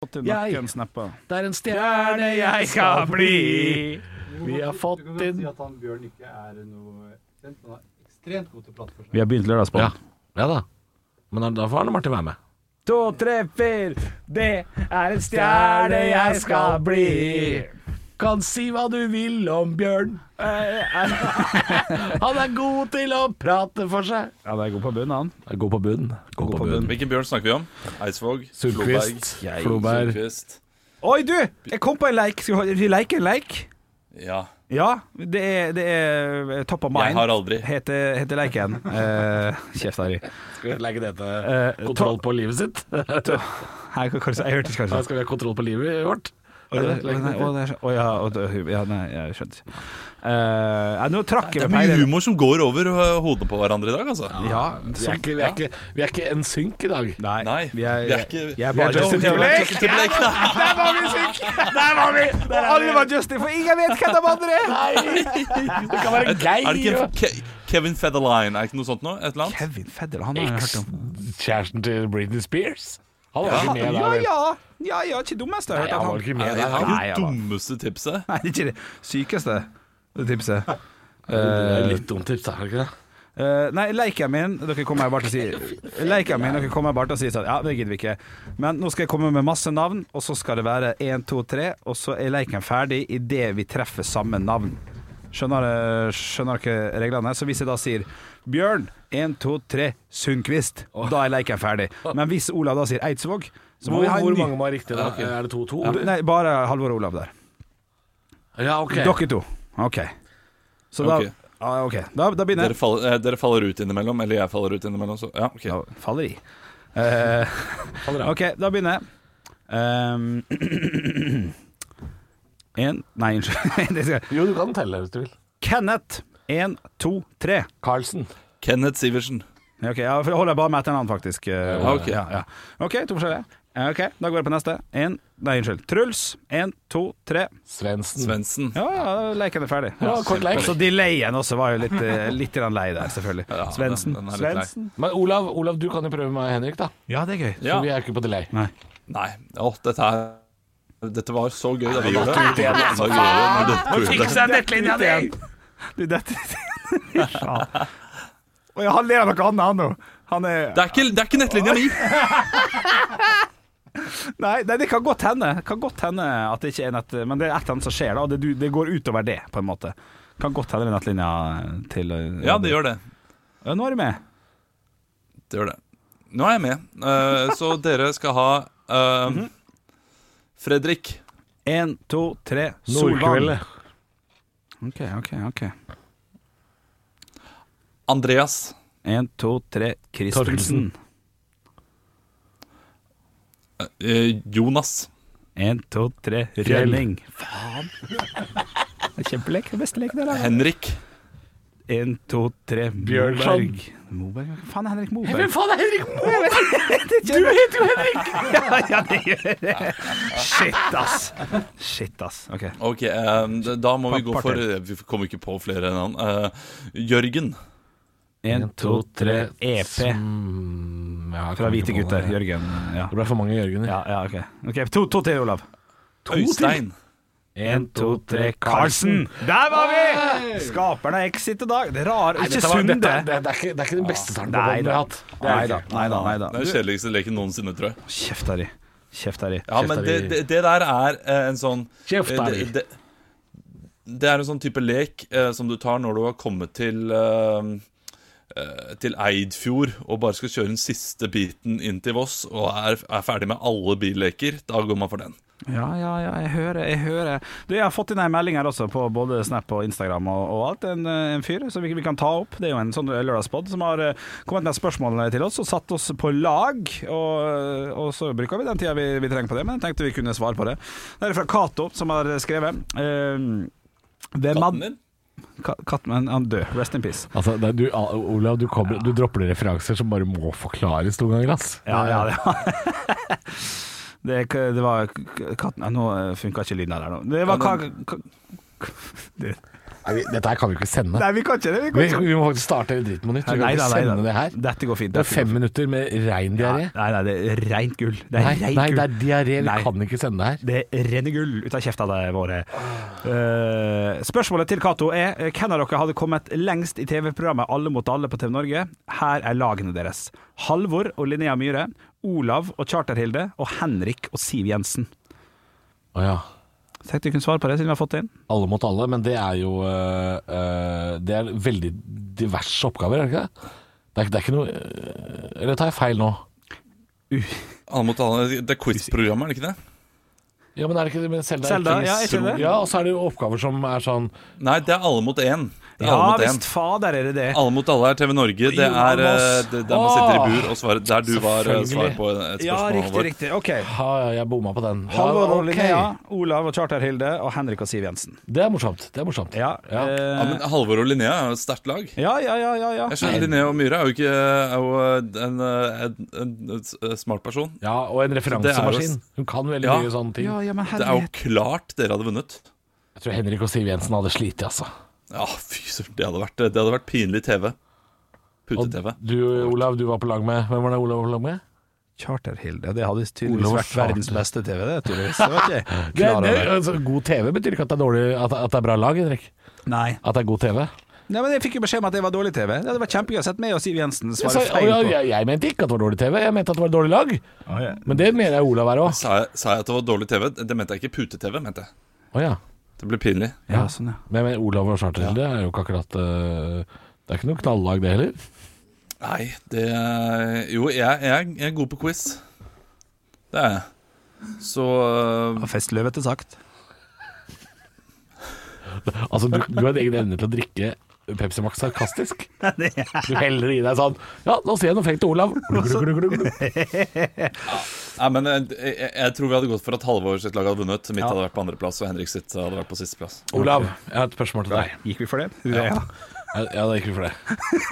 Fått inn Jeg- noen snapper. Det er en stjerne jeg skal bli. Vi har fått Du kan godt inn- si at han Bjørn ikke er noe kjent. Han er ekstremt god til å prate for seg. Vi har begynt lørdagspod. Ja, ja da. Men da, da får Arne Martin være med. To, tre, fire. Det er en stjerne jeg skal bli. Kan si hva du vil om Bjørn. Han er god til å prate for seg. Ja, det er god på bunnen, han. Gå på bunn. Gå på bunn. Hvilken bjørn snakker vi om? Eidsvåg? Sundquist. Jeg- Floberg. Sundquist. Oi, du! Jeg kom på en leik. Skal vi ha- vi leke en leik? Ja. Ja, det er, det er eh, Top of Jeg Mind. har aldri. Heter, heter leiken. Eh, Kjeft, Eh, Harry. Skal vi legge dette Kontroll på livet sitt? Hei, hva, hva, sa- jeg hørte ikke hva du sa. Her skal vi ha kontroll på livet vårt. Å ja, å, det er så- å, ja, å, det- ja, nei, jeg skjønte ikke. Eh, nei, nå trakk Det jeg er meg mye i det. humor som går over øh, hodene på hverandre i dag, altså. Ja, Vi er sånn. ikke, vi er ikke, vi er ikke en synk i dag. Nei, Nei, vi er, vi er ikke- jeg er vi er bare Justin Timberlake. Justin Timberlake, nei. Der var vi syke! Der var vi! Og alle var Justin, for ingen vet hvem de andre er! Det kan være Er det ikke Geir. en- Ke Kevin Federline, er det ikke noe sånt noe? Et eller annet? Kevin Fedder, han har jeg hørt om. Kjæresten til Britney Spears. Han var ikke med Ja der. ja, ja, ja ikke dummeste jeg har Nei, han hørt var om. ikke Nei, med det der. er Han. ikke det dummeste tipset. Nei, det er ikke det sykeste det tipset. Det er Eh, litt dumt tips, er det ikke det? eh, nei, leiken min Dere kommer bare til å si Leiken min, dere kommer bare til å si sånn Ja, det gidder vi ikke. Men nå skal jeg komme med masse navn, og så skal det være én, to, tre, og så er leiken ferdig idet vi treffer samme navn. Skjønner, eh, skjønner dere reglene? Så hvis jeg da sier Bjørn, 1, 2, 3, Sundquist, da er leiken ferdig. Men hvis Olav da sier Eidsvåg, så må Hvor, vi ha en hvor ny mange var riktig da? Er det Ja, 2-2? Nei, bare Halvor og Olav der. Ja, ok. Dere to. OK. Så da Ok. Ja, ok. Da, da begynner Dere jeg. faller, eh, dere faller ut innimellom, eller jeg faller ut innimellom, så ja, ok. Da faller i. Eh, Faller av. OK, da begynner jeg. Um, en Nei, unnskyld. Det skal jeg. Jo, du kan telle hvis du vil. Kenneth. Én, to, tre. Carlsen. Kenneth Sivertsen. Ja, Ok, ja, for jeg holder bare med etternavn, faktisk. Eh, Ja, ok. Ja, ja. OK, to forskjellige. Eh, Ok, Da går jeg på neste. En, nei, unnskyld. Truls. Én, to, tre. Svendsen. Svendsen. Ja, ja, leken er ferdig. Ja, kort leik. Så delayen også var jo litt, eh, litt grann lei der, selvfølgelig. Ja, den- Svendsen. den er litt lei. Svendsen. Men Olav, Olav, du kan jo prøve med Henrik, da. Ja, det er gøy. For Ja. vi er jo ikke på delay. Nei. Å, dette er dette var så gøy da vi gjorde det. Det var så gøy når det- jeg nettlinja di! Du, dette ja. Og jeg- han ler av noe annet, han nå. Han er Det er ikke, det er ikke nettlinja mi! nei, nei, det kan godt hende Kan godt hende at det ikke er nett Men det er et eller annet som skjer, da. Og det, du- det går utover det, på en måte. Kan godt hende det er nettlinja til eh, Ja, det gjør det. ja, Nå er du med. Det gjør det. Nå er jeg med. Eh, så dere skal ha eh, Fredrik. Én, to, tre, Solvann. Solvann. OK, OK. ok Andreas. Én, to, tre, Christensen. eh, Jonas. Én, to, tre, Rønning. Faen. Det er Kjempelek. Det er beste leken jeg har laget. Henrik. En, to, tre Bjørnson. Moberg. Moberg? Hva faen er Henrik Moberg? Hvem faen er Henrik Moe? Du heter jo Henrik! ja, ja, det gjør jeg. Shit, ass. Shit, ass. Ok. Ok, eh, d- da må vi gå Pappa for eh, Vi kommer ikke på flere navn. Eh, Jørgen. En, to, tre, E EP. Fra Hvite gutter. Det Jørgen. Ja, ble for mange Jørgener. ja, ja ok. Ok, To, to til, Olav. Øystein. En, to, tre, Karlsen. Der var vi! Skaperen av Exit i dag. Det er rar, ikke Dette var- dette- Sunde. Det, det, er ikke, det er ikke den beste starten på Nei den vi da. har hatt. Nei da. Nei da. Nei da. Det er den kjedeligste leken noensinne, tror jeg. Kjeft, Harry. Kjeft, Harry. Ja, men det, det, det der er eh, en sånn Kjeft, eh, Harry. det, det, det er en sånn type lek eh, som du tar når du har kommet til eh, eh, til Eidfjord og bare skal kjøre den siste biten inn til Voss og er, er ferdig med alle billeker. Da går man for den. Ja, ja, ja, jeg hører, jeg hører. Du, jeg har fått inn ei melding her også, på både Snap og Instagram og, og alt. En, eh, en fyr som vi, vi kan ta opp. Det er jo en sånn lørdagspod som har eh, kommet med spørsmål til oss og satt oss på lag. Og, og så bruker vi den tida vi, vi trenger på det, men jeg tenkte vi kunne svare på det. Det er fra Cato som har skrevet. eh, hvem Katten hadde din? Ka- Katten min, han død. Rest in peace. Altså, det er du, Olav, du, kommer, du dropper referanser som bare må forklares noen ganger. Ass. Ja, ja, det var Det, k- det eh, var k- katten Nei, Nå funka ikke lyden her nå. Det var ka... ka- Nei, vi- Dette her kan vi jo ikke sende. Nei, vi kan ikke det. Vi Vi, kan ikke. vi må faktisk starte hele dritten på nytt. Vi kan ikke sende det her. Dette går fint. Det dette er går fem fint. minutter med rein diaré. Nei, nei, det er rent gull. Det er Nei, rent nei, det er gull. diaré. Vi Nei. kan ikke sende det her. Det renner gull ut av kjefta di, våre. Eh, spørsmålet til Cato er eh, hvem av dere hadde kommet lengst i TV-programmet Alle mot alle på TV Norge? Her er lagene deres. Halvor og Linnea Myhre. Olav og Charterhilde. Og Henrik og Siv Jensen. Å ja. Tenkte vi kunne svare på det, siden vi har fått det inn. Alle mot alle, men det er jo øh, øh, Det er veldig diverse oppgaver, er det ikke det? Det er, ikke- det er ikke noe øh, Eller tar jeg feil nå? Alle mot alle. Det er quiz-programmet, er det ikke det? Ja, men er det ikke det med Selda? Selda, ja, jeg kjenner det. Ja, og så er det jo oppgaver som er sånn Nei, det er Alle mot én. Det er Ja alle mot én. visst, fader er det det. Alle mot alle er TV Norge. Det er Jonas. eh, det- der man sitter i Åh, bur og svarer der du var eh, svar selvfølgelig. på et spørsmål. Ja, riktig, Halvor. riktig. OK. Ha, ja, jeg bomma på den. Ja, Halvor og ok. Linnea. Olav og Charterhilde. Og Henrik og Siv Jensen. Det er morsomt. Det er morsomt. Ja, Ja. eh, Ja, men Halvor og Linnea er jo et sterkt lag. ja, ja, ja, ja, ja. Jeg skjønner Linnea og Myhre er jo ikke er jo eh, en, eh, en, en, en smart person. Ja, og en referansemaskin. Hun kan veldig Ja. mye sånne ting. Ja, ja, men Det er jo herlighet. klart dere hadde vunnet. Jeg tror Henrik og Siv Jensen hadde slitt, altså. Ja, fy søren. Det, hadde vært- det hadde vært pinlig TV. Og Pute-TV. du, Olav, du var på lag med Hvem var det Olav var på lag med? Charterhilde. Det hadde tydeligvis Olav vært Charter. verdens beste TV, det, tydeligvis. Det var ikke jeg Det, klar det, over. altså, god TV betyr ikke at det er, dårlig, at, at det er bra lag, Henrik. Nei. At det er god TV. Nei, men Jeg fikk jo beskjed om at det var dårlig TV. Det hadde vært kjempegøy å sett meg og Siv Jensen Jeg, sa, svare å, feil ja, på. jeg, jeg mente ikke at det var dårlig TV, jeg mente at det var et dårlig lag. Men det mener jeg Olav er òg. Sa jeg, sa jeg at det var dårlig TV? Det mente jeg ikke. Pute-TV, mente jeg. Å ja. Det ble pinlig. Ja, sånn, ja. Men, men Olav og Charter, det er jo ikke akkurat øh, Det er ikke noe knallag, det heller. Nei, det Jo, jeg, jeg, jeg er god på quiz. Det er jeg. Så Ja, Festløvete sagt. Altså, du, du har en egen evne til å drikke Pepsi Max sarkastisk. Du heller i deg sånn Ja, nå ser jeg noe fake til Olav. Nei, men jeg, jeg, jeg tror vi hadde gått for at Halvor sitt lag hadde vunnet. Mitt hadde vært på andreplass, og Henrik sitt hadde vært på sisteplass. Olav, jeg har et spørsmål til deg. Gikk vi for det? Ja, Ja, det gikk vi for det.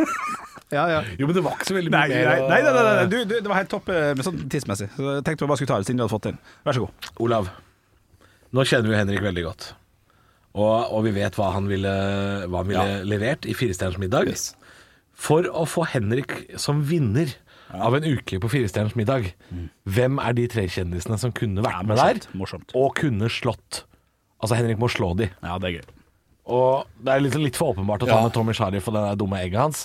ja. ja. Jo, men det var ikke så veldig mye Nei, nei, mer. nei, å- nei, nei, nei. Du, du, det var helt topp eh, sånn tidsmessig. Så jeg tenkte jeg bare skulle ta det siden du hadde fått det inn. Vær så god. Olav, nå kjenner vi jo Henrik veldig godt. Og, og vi vet hva han ville, hva han ville levert i Firestjerners middag. Yes. For å få Henrik som vinner av en uke på Firestjerners middag, Mm. hvem er de tre kjendisene som kunne vært med der, morsomt, morsomt. og kunne slått? Altså, Henrik må slå de. Ja, det er gøy. Og det er litt, litt for åpenbart å ta Ja. med Tommy Sharif og det der dumme egget hans.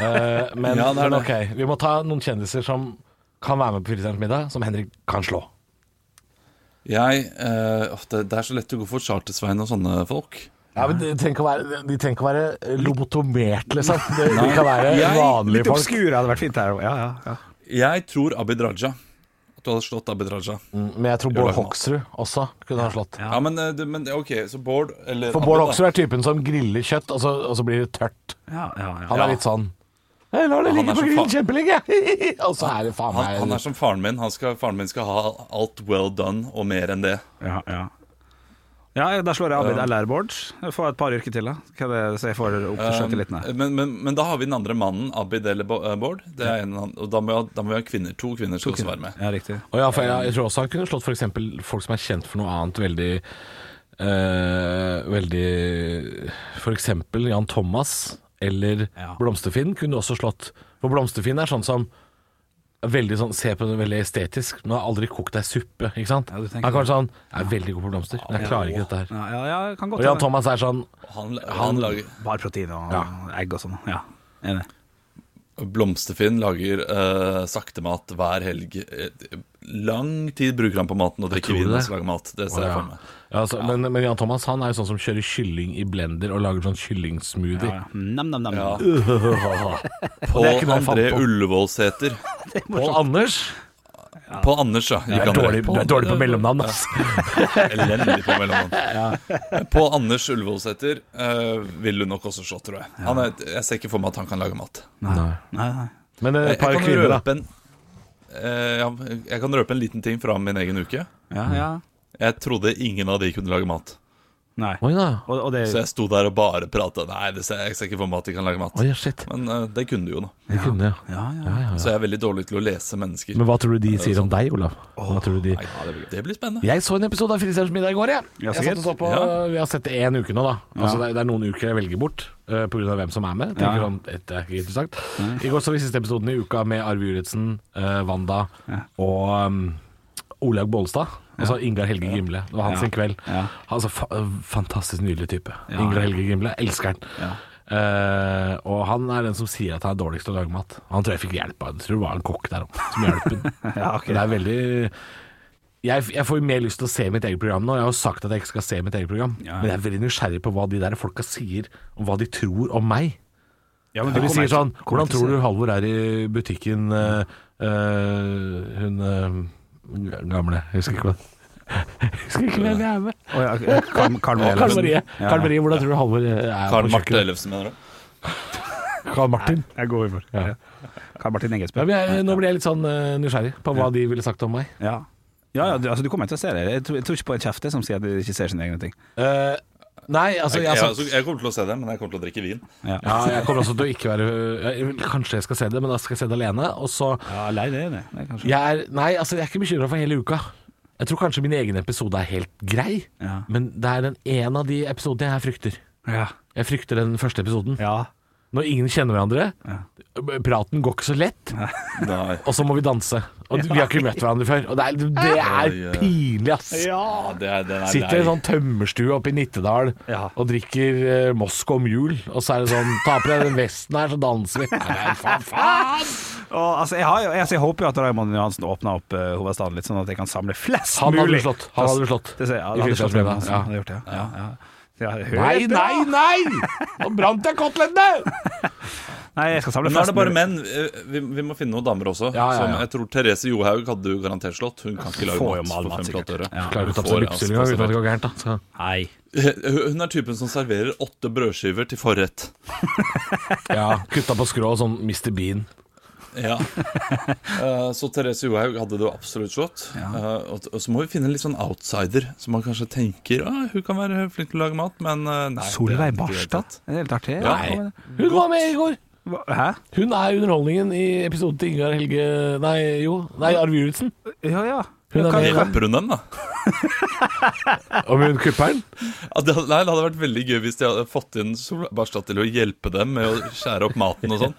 Eh, men, Ja, det er men ok, det. vi må ta noen kjendiser som kan være med på Firestjerners middag, som Henrik kan slå. Jeg, eh, åh, det, det er så lett å gå for Charter-Svein og sånne folk. Ja, men De trenger ikke å være, de trenger ikke å være eh, lobotomert, liksom. De, de kan være vanlige Litt folk. obskure hadde vært fint her. Ja, ja, ja. Jeg tror Abid Raja. At du hadde slått Abid Raja. Ja, Mm, Men jeg tror Gjør Bård det. Hoksrud også kunne ha slått. men, eh, det- men det- OK, så Bård eller For Bård Abid, da. Hoksrud er typen som griller kjøtt, og så, og så blir det tørt. ja, ja, ja. Han Ja. er litt sånn «Jeg lar det Han ligge er på så grillen fa- kjempelenge! og så er det faen Han, han er meg som faren min. Han skal, faren min skal ha alt well done og mer enn det. Ja, ja. Ja, da slår jeg Abid LR Bård. Få et par yrker til, da. Hva er det, så jeg får opp til sjøtilliten her. Um, men, men, men da har vi den andre mannen, Abid eller Bo- eh, Bård. Det er en, han- og da må, jeg, da må vi ha kvinner. To kvinner skal også være med. Ja, riktig. og ja, for jeg, jeg tror også han kunne slått f.eks. folk som er kjent for noe annet veldig eh, Veldig F.eks. Jan Thomas eller Ja. Blomsterfinn kunne også slått. For Blomsterfinn er sånn som er veldig sånn, Se på det veldig estetisk, men har aldri kokt ei suppe. Ikke sant? Ja, du tenker han kan være sånn Jeg er veldig god på blomster, men jeg klarer ikke dette her. Ja, ja, ja kan godt Og Jan hende. Thomas er sånn Han, han lager Bare protein og egg og sånn. Ja, enig. Blomsterfinn lager uh, saktemat hver helg. Eh, Lang tid bruker han på maten og drikker tror vin det. og så lager mat. Det ser jeg for meg. Ja, altså, Men, men Jan Thomas han er jo sånn som kjører kylling i blender og lager sånn kyllingsmoothie. Ja, ja. Nam, nam, nam. Ja. nam. Pål ikke noe jeg fant André på. Ullevålsæter. Pål Anders Pål Anders, ja. du ikke er, André. dårlig, du Pål- er dårlig på mellomnavn, ass. Elendig på mellomhånd. Pål Anders Ullevålsæter eh, vil du nok også slå, tror jeg. Han er, jeg ser ikke for meg at han kan lage mat. Nei. Nei, nei. Men eh, Jeg, et par jeg, kan kvinner, da. røpe en, eh, ja, jeg kan røpe en liten ting fra min egen uke. Ja, ja. Jeg trodde ingen av de kunne lage mat. Nei. Oi da. Og, og det Så jeg sto der og bare prata. Nei, det ser, jeg ser ikke for meg at de kan lage mat. Oi, shit. Men eh, det kunne du jo, da. Det kunne jeg. ja, ja. Ja, ja, ja. Så jeg er veldig dårlig til å lese mennesker. Men hva tror du de sier sånn. om deg, Olav? Hva tror du de Nei, det, blir, det blir spennende. Jeg så en episode av Fristjerners middag i går, jeg. Ja, jeg satt og så på, Ja. Vi har sett det én uke nå, da. Altså, det, er, det er noen uker jeg velger bort uh, pga. hvem som er med. Ja, Tenker ja. sånn, dette er ikke interessant I går så vi siste episoden i uka med Arve Juritzen, eh, Wanda og um, Olaug Bollestad. Altså Ingar Helge Gimle. Det var hans sin kveld. Ja. Altså, fa fantastisk nydelig type. Ingar Helge Gimle. Elsker han. Ja. Eh, og han er den som sier at han er dårligst til å lage mat. Han tror jeg fikk hjelp av Jeg tror det var en kokk der òg som hjalp ham. ja, ok. Det er veldig jeg, jeg får jo mer lyst til å se mitt eget program nå. Jeg har jo sagt at jeg ikke skal se mitt eget program. Ja. Men jeg er veldig nysgjerrig på hva de der folka sier, og hva de tror om meg. Ja, men De du sier kommer- sånn kommer Hvordan til å tror se- du Halvor er i butikken eh, eh, Hun eh, gamle Jeg husker ikke hva Jeg husker ikke hvem jeg er med. Å, ja, ok. Karl- Karl Marie Karl Ellefsen. Marie. Ja. Karl Marie, hvordan tror du Halvor eh, er Karen på Marte kjøkkenet? Ellefsen, mener du? Karl Martin. Jeg går over. Ja. Karl Martin Engelsbø. Ja, men jeg, nå blir jeg litt sånn eh, nysgjerrig på hva de ville sagt om meg. Ja, ja, ja du, altså, du kommer til å se det. Jeg tror, jeg tror ikke på en kjefte som sier at de ikke ser sine egne ting. Eh, nei, altså Jeg, jeg, har jeg, sagt- altså, jeg kommer til å se det, men jeg kommer til å drikke vin. Ja, Ja, jeg kommer også til å ikke være jeg, Kanskje jeg skal se det, men da skal jeg se det alene. Og så lei det, det. det er kanskje. jeg er, Nei, altså, jeg er ikke bekymra for hele uka. Jeg tror kanskje min egen episode er helt grei, Ja. men det er den ene av de episodene jeg frykter. Ja. Jeg frykter den første episoden. Ja. Når ingen kjenner hverandre. Praten går ikke så lett, Nei, og så må vi danse. Og vi har ikke møtt hverandre før. Og det er, det Oi, er ja. pinlig, ass. ja, det er, den er Sitter i en lei. sånn tømmerstue oppe i Nittedal Ja. og drikker eh, Moskva mule, og så er det sånn Ta på deg den vesten her, så danser vi. Nei, nei, faen, faen! Og, altså, jeg, har, jo- altså, jeg håper jo at Raymond Johansen åpner opp eh, hovedstaden litt, sånn at jeg kan samle flest Han hadde mulig. du slått. Han hadde du slått. Det sier jeg. I Ja, det hadde slått Fylkesnes- meg, altså. ja. Hadde gjort det, ja. Ja, ja. Ja, hør. Nei, nei, nei! Nå brant jeg kotelettene! Nei, jeg skal samle Men nå er flest det bare mulig. menn. Eh, Vi, vi må finne noen damer også. Ja, ja, ja. Som jeg tror Therese Johaug hadde du garantert slått. Hun kan ikke lage Får jo mat all for mat, fem sikkert. flate øre. Ja. Klarer du å ta på deg Får, altså, lykkestillinga uten at det spesielt. går gærent, da? Nei. Hun er typen som serverer åtte brødskiver til forrett. Så, ja, kutta på skrå, sånn Mr. Bean. Ja. Eh, Så Therese Johaug hadde det jo absolutt slått. Eh, Og og så må vi finne en litt sånn outsider som man kanskje tenker ah, hun kan være flink til å lage mat, men eh, nei. det er hun Solveig ikke i det hele Barstad? tatt. Er det helt artig? Nei. Hun var med i går! Hva- Hæ? Hun er underholdningen i episoden til Ingar Helge Nei, jo. Nei, Arve Juritzen. Ja, ja. Hun er Kan- med i kan- Kapper hun den, da? Om hun kupper den? Ja, det, hadde- nei, det hadde vært veldig gøy hvis de hadde fått inn Solveig Barstad til å hjelpe dem med å skjære opp maten og sånn.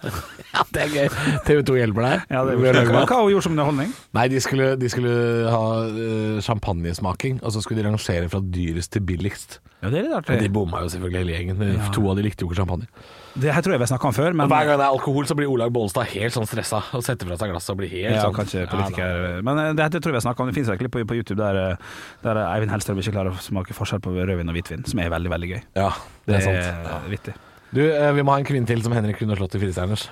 Ja, det er gøy. TV 2 hjelper deg. Ja, det Med å er lage Hva mat. har hun gjort som underholdning? Nei, de skulle, de skulle ha eh, champagnesmaking, og så skulle de rangere fra dyrest til billigst. Ja, det er litt Men de bomma jo selvfølgelig hele gjengen. To av de likte jo ikke champagne. Det her tror jeg vi har snakka om før, men Og hver gang det er alkohol, så blir Olaug Bollestad helt sånn stressa og setter fra seg glasset og blir helt ja, sånn kanskje Ja, politiker Men eh, det her tror jeg vi har snakka om. Det fins virkelig på, på YouTube der, eh, der Eivind Hellstrøm ikke klarer å smake forskjell på rødvin og hvitvin, som er veldig, veldig gøy. da. ja, det er sant. vittig. Du, eh, vi må ha en kvinne til som Henrik kunne slått i firestjerners.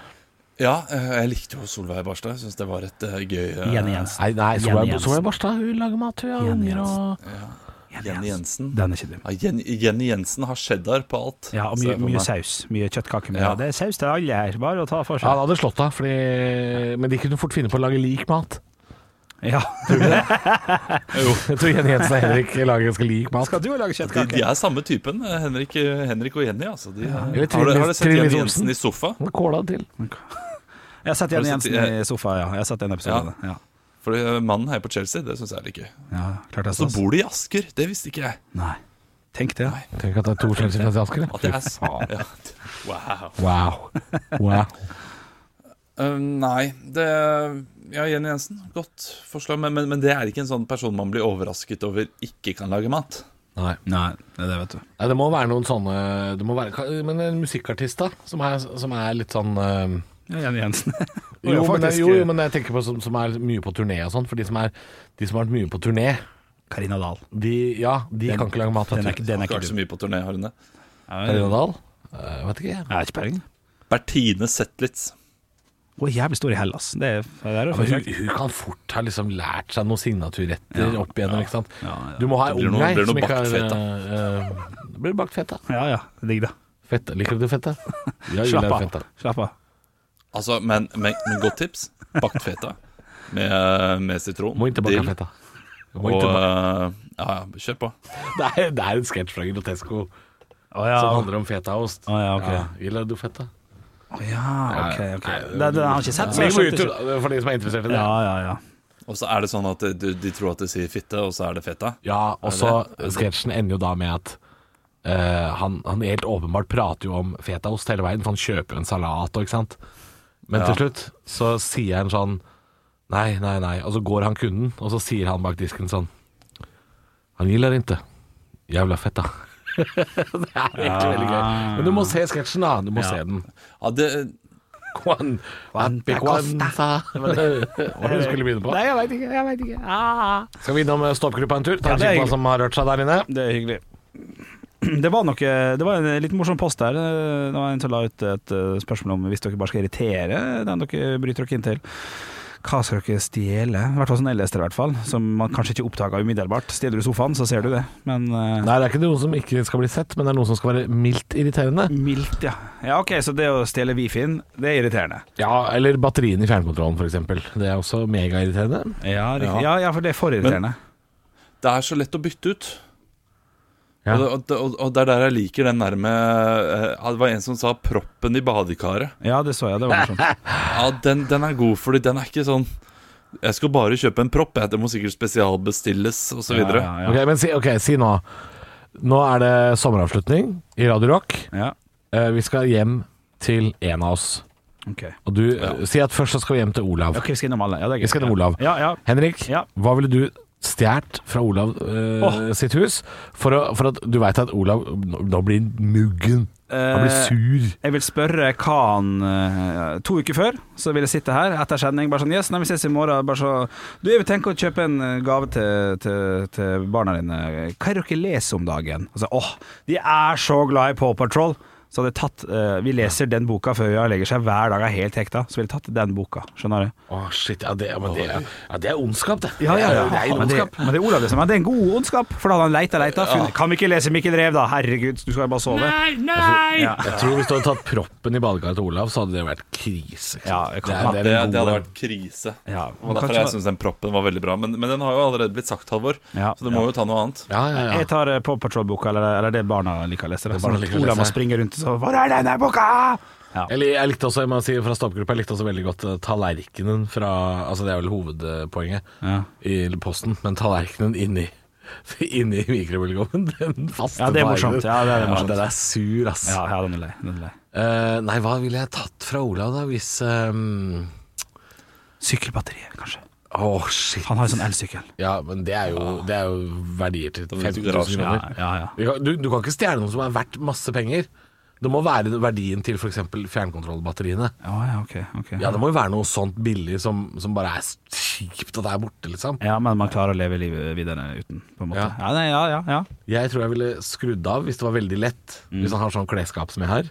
Ja, eh, jeg likte jo Solveig Barstad. Jeg syns det var et eh, gøy eh, Jenny Jensen. Nei, nei Jenny Solveig Jensen. Solveig Barstad. Hun lager mat, hun har Jenny unger og Jenny Jensen. Den er ikke dum. Ja, Jenny, Jenny Jensen har cheddar på alt. Ja, og ser mye, jeg for mye meg. saus. Mye kjøttkake. Med. Ja. Det er saus til alle her, bare å ta for Ja, han seg. hadde slått av, fordi Men de kunne fort finne på å lage lik mat. Ja. Jeg tror Jenny Jensen og Henrik lager ganske lik mat. Skal du lage De, de kjøttkake? er samme typen, eh, Henrik, Henrik og Jenny. Altså. De, har, Eller du- har Trine- du sett Trine Jenny Olsen? Jensen i sofa? Kåla til. Jeg har sett Jenny Har du sett- Jensen i sofa, ja. Jeg har sett en episode av Ja. det. Ja. For eh, mannen heier på Chelsea, det syns jeg er litt gøy. Ja, klart det er Så stas. bor de i Asker, det visste ikke jeg. Nei. Tenk det. Tenk at det er to skjellsifrede asker. At det er s- ja. Wow. Wow. wow. Eh, nei, det Ja, Jenny Jensen, godt forslag. Men, men, men det er ikke en sånn person man blir overrasket over ikke kan lage mat. Nei. Nei, det er det, vet du. Nei, det må være noen sånne det må være, Men en musikkartist, da, som er, som er litt sånn eh, Ja, Jenny Jensen. jo, Ja, men, faktisk. jo, jo, men jeg tenker på som, som er mye på turné og sånn. For de som, er, de som har vært mye på turné, Karina Dahl. de, ja, de Den- kan ikke lage mat. Den er, Vet ikke- du. den Hun er har ikke ikke vært dum. så mye på turné, har hun det? Ja, Karina Dahl? Eh, vet ikke. jeg. Jeg har ikke peiling. Bertine Zetlitz. Hun er jævlig stor i Hellas. Det er, det er Ja, jo men ja, hun, hun kan fort ha liksom lært seg noen signaturretter opp igjennom. ikke sant? ja, ja. Du må ha ei Det blir ung noe- ei blir noe som ikke har bakt fett, da. eh, eh, Det blir bakt fett, da. ja, ja. Digg, da. Fett, liker du fett, da? Ja, jeg Slapp liker av. fett, da. Slapp av. Altså, men, men, men godt tips. Bakt feta med, med sitron. Må ikke bake dill fett, da. Må Og, ikke bake. eh, Ja, ja, kjør på. Det er, det er en sketsj fra Grotesco Å ja. som handler om fetaost. Å, ja, ok. Illa du feta? Å ja, ok. ok. Nei, Det, det har jeg ikke sett, så Ligg jeg på skjønte YouTube ikke. da, for de som er interessert i det. Ja, ja, ja. Og så er det sånn at de, de tror at de sier fitte, og så er det feta. Ja, og så sketsjen ender jo da med at eh, han, han helt åpenbart prater jo om fetaost hele veien, for han kjøper jo en salat og ikke sant. Men til slutt så sier han sånn Nei, nei, nei. Og så går han kunden, og så sier han bak disken sånn Han gillar inte. Jævla fetta. det er helt veldig gøy. Men du må se sketsjen, da. Du må se den. Ja, det, Kwan, Kwanza Hva var det du skulle begynne på? Nei, jeg veit ikke. Jeg vet ikke. Ah. Skal vi innom eh, stoppklubba en tur? Ta Ja, en det er kikk på hyggelig. hva som har rørt seg der inne. Det er hyggelig. Det var, noe, det var en eh, litt morsom post der. Eh, Det var en som la ut et eh, spørsmål om hvis dere bare skal irritere den dere bryter dere inn til. Hva skal dere stjele? I hvert fall sånn jeg leste det, i hvert fall. Som man kanskje ikke oppdaga umiddelbart. Stjeler du sofaen, så ser du det. Men eh, Nei, det er ikke noen som ikke skal bli sett, men det er noen som skal være mildt irriterende. mildt, ja. Ja, OK, så det å stjele Wifi-en, det er irriterende. Ja, eller batteriene i fjernkontrollen f.eks. Det er også megairriterende. Ja, riktig. Ja, ja, for det er for irriterende. det er så lett å bytte ut. Ja. Og, det, og, det, og- og det er der jeg liker den der med eh, Det var en som sa 'proppen i badekaret'. Ja, det så jeg. Det var morsomt. Ja, den, den er god, fordi den er ikke sånn Jeg skal bare kjøpe en propp, jeg. Det må sikkert spesialbestilles, osv. Ja, Ja, ja, Ok, men si, ok, si nå. Nå er det sommeravslutning i Radio Rock. ja. ja, Eh, Vi skal hjem til en av oss. OK. Og du, eh, Si at først så skal vi hjem til Olav. Ok, vi skal innom alle. Ja, det er Vi skal til Olav. Ja, ja. Henrik, Ja. hva ville du stjålet fra Olav eh, Åh. sitt hus? For, å, for at du veit at Olav nå nå blir han muggen. Han blir Eh, sur. Jeg vil spørre hva han eh, To uker før så vil jeg sitte her etter sending. Bare sånn Yes, nei, vi ses i morgen. Bare så Du, jeg vil tenke å kjøpe en eh, gave til, til, til barna dine. Hva er det dere leser om dagen? Og så, åh, de er så glad i Paw Patrol. Så hadde jeg tatt eh, Vi leser den boka før Øya legger seg hver dag, er helt hekta. Så ville jeg tatt den boka. Skjønner du? Å, shit. Ja, det, ja, men det, ja, det er ondskap, det. Det er Eh, Men, det, ondskap. men det er Olav det som er. Det er en god ondskap, for da hadde han leita, leita. funnet- Kan vi ikke lese Mikkel Rev, da? Herregud, du skal jo bare sove. Altså, nei! Ja. Jeg tror hvis du hadde tatt proppen i badekaret til Olav, så hadde det vært krise. ikke sant? Ja, jeg kan- det, det, er- det er det den hadde gode. vært krise. Ja, Og kanskje- derfor jeg syns den proppen var veldig bra. Men, men den har jo allerede blitt sagt, Halvor, Ja, så du må jo ta noe annet. Ja, ja, ja. Jeg tar eh, Paw Patrol-boka, eller, eller det barna liker å lese. Det barna sånn at liker å Olav må lese. springe rundt og så 'Hvor er denne boka?' Ja. Eller jeg likte også, jeg må si fra stoppgruppa, jeg likte også veldig godt eh, tallerkenen fra Altså det er vel hovedpoenget Ja. i posten, men tallerkenen inni Inni mikrobølgeovnen, den faste Ja, det er morsomt. fargen. Ja, det er morsomt. den er sur, ass. Ja, ja, den er lei. Den er lei. Eh, nei, hva ville jeg tatt fra Olav, da, hvis ehm, Sykkelbatteriet, kanskje. Åh, shit. Han har jo sånn elsykkel. Ja, men det er jo, det er jo verdier til blir det 50 000 garasje. kroner. ja, ja. Vi kan- Du, du kan ikke stjele noe som er verdt masse penger. Det må være verdien til f.eks. fjernkontrollbatteriene. Å, ja, ok, ok. Ja, det må jo være noe sånt billig som, som bare er kjipt at det er borte, liksom. Ja, men man klarer å leve livet videre uten, på en måte. Ja. Ja, nei, ja, ja, ja. Jeg tror jeg ville skrudd av hvis det var veldig lett. Hvis han har sånn klesskap som jeg har,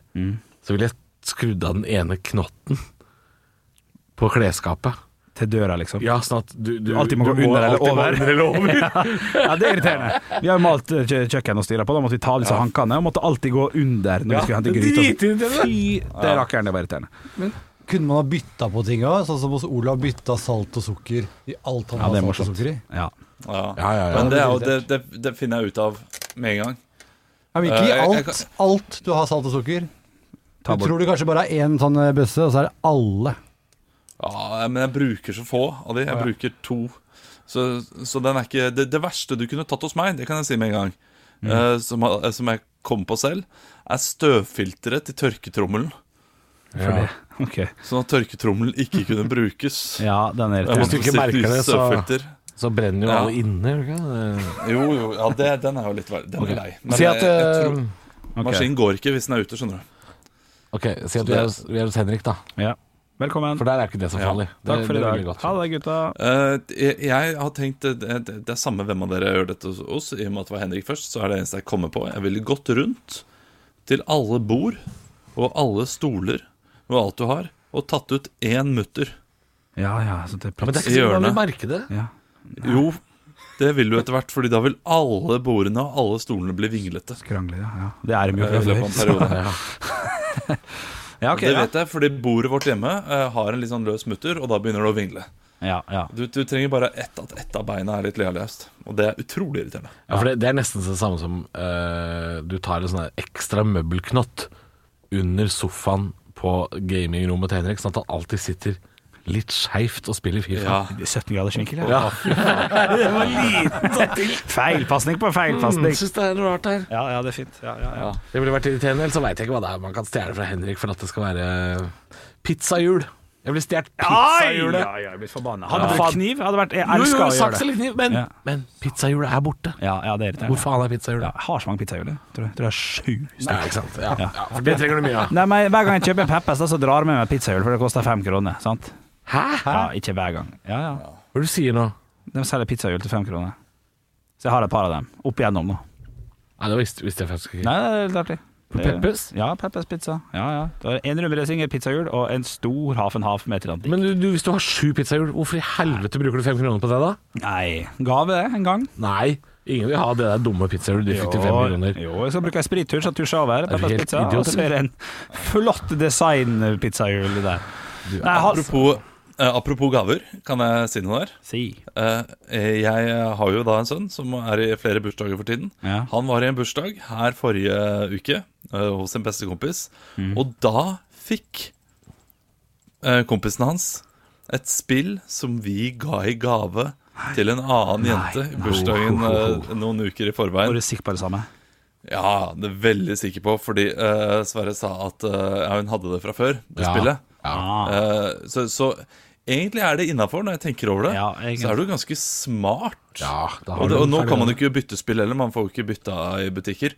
så ville jeg skrudd av den ene knotten på klesskapet. Til døra, liksom. Ja. Ja, sånn at du, Du du, alltid må du gå under eller alltid over. Gå under eller over. det er irriterende. Vi har jo malt eh, kjø- kjøkken og styra på, da måtte vi ta av disse hankene. Og måtte alltid gå under når vi skulle hente gryte. og sånn. Fy, det rakkeren, det var irriterende. Kunne man ha bytta på tinga? Sånn som hos Olav bytta salt og sukker i alt han Ja, det er altså, hadde salt og morsomt. sukker i. Ja. Ja. Ja, ja, ja. Men det, er jo- det, det, det finner jeg ut av med en gang. Ja, men ikke i Eh, jeg- jeg alt, alt du har salt og sukker. Du Ta bort. tror du kanskje bare er én sånn eh, bøsse, og så er det alle. Ja, men jeg bruker så få av de. Jeg bruker to. Så, så den er ikke det, det verste du kunne tatt hos meg, det kan jeg si med en gang, eh, som, har- som jeg kom på selv, er støvfilteret til tørketrommelen. For det. Ok. Sånn at tørketrommelen ikke kunne brukes. Ja, den er irriterende. Hvis Jeg du måtte ikke sitte merker i det, så- støvfilter. Så brenner jo Ja. alle inne, gjør det ikke? Jo, jo, ja, det, den er jo litt verre. Den er lei. Men Si at, jeg, jeg eh, tror, Ok. maskinen går ikke hvis den er ute, skjønner du. ok, si at vi det- er, hos- vi er hos Henrik, da. Ja. Velkommen. For der er ikke det som Ja. faller. Det, Takk for i det er dag. veldig godt. Ha det, gutta. Eh, jeg, jeg har tenkt eh, det, det, det er samme hvem av dere gjør dette hos oss. I og med at det var Henrik først, så er det eneste jeg kommer på. Jeg ville gått rundt til alle bord og alle stoler og alt du har, og tatt ut én mutter. Ja, ja, så det er Ja, men det plutselig er ikke sikkert man Hjørnet. vil merke det. ja. Jo, det vil du etter hvert, Fordi da vil alle bordene og alle stolene bli vinglete. Krangler, ja, ja. Det er de jo eh, fra I løpet av en før. periode Ja, ok, Det ja. vet jeg, fordi bordet vårt hjemme eh, har en litt sånn løs mutter, og da begynner det å vingle. ja, Ja, ja. Du, du trenger bare ett at ett av beina er litt lealøst. Og det er utrolig irriterende. Ja, for det, det er nesten det samme som eh, du tar en sånn her ekstra møbelknott under sofaen på gamingrommet til Henrik, sånn at han alltid sitter litt skeivt og spiller Fifa. Ja. Det er 17 graders vinkel, ja. Ja. Det var liten Feilpasning på Jeg feilpasning. syns Altså, det er noe rart der. Ja, ja, det er fint. Ja, ja, ja. Det ville vært irriterende, ellers så veit jeg ikke hva det er man kan stjele fra Henrik for at det skal være eh, pizzahjul. Jeg ville stjålet Ai! pizzahjulet. Ja, jeg er blitt forbanna. Hadde Ja. det vært kniv, hadde vært Jeg Jo, jo, elsker å gjøre saks det. eller kniv, men, Ja. men pizzahjulet er borte. Ja, ja, det er Hvor irriterende. faen er Ja, pizzahjulet? jeg har så mange pizzahjul, jeg. tror jeg. Jeg Tror jeg har sju. Ja, ikke sant. Ja, ja. for Det trenger du mye av. Nei, men Hver gang jeg kjøper en Peppes, da, så drar jeg med meg pizzahjul, for det koster fem kroner. sant? Hæ? Hva Ja, Ikke hver gang. Ja, ja. er det du sier nå? De selger pizzahjul til fem kroner. Så jeg har et par av dem. Opp igjennom nå. Nei, det visste, visste jeg faktisk ikke. Nei, det er litt artig. På Peppes? Ja, Peppes pizza. Ja, ja. Det er En rømmeresinger, pizzahjul og en stor half and half med Atlantic. Men du, du, hvis du har sju pizzahjul, hvorfor i helvete bruker du fem kroner på det da? Nei, gave det en gang. Nei, ingen vil ha det der dumme pizzahjulet du fikk til fem kroner. jo, jeg skal bruke en sprittur så tusjer over. Er du Peppers helt pizza. idiot, Og så er det en flott designpizzahjul der. Nei, Hans. Apropos, eh, apropos gaver, kan jeg si noe der? Si. Eh, jeg har jo da en sønn som er i flere bursdager for tiden. Ja. Han var i en bursdag her forrige uke eh, hos sin beste kompis, og da fikk eh, kompisen hans et spill som vi ga i gave til en annen jente i bursdagen eh, noen uker i forveien. Er du sikker på det samme? Ja, det er veldig sikker på, fordi eh, Sverre sa at eh, ja, hun hadde det fra før, det spillet. Ah. Eh, så, så egentlig er det innafor, når jeg tenker over det. Ja, egentlig. så er du ganske smart. Ja, da og, det, og nå kan man jo jo ikke bytte spill heller, man får jo ikke bytta i butikker.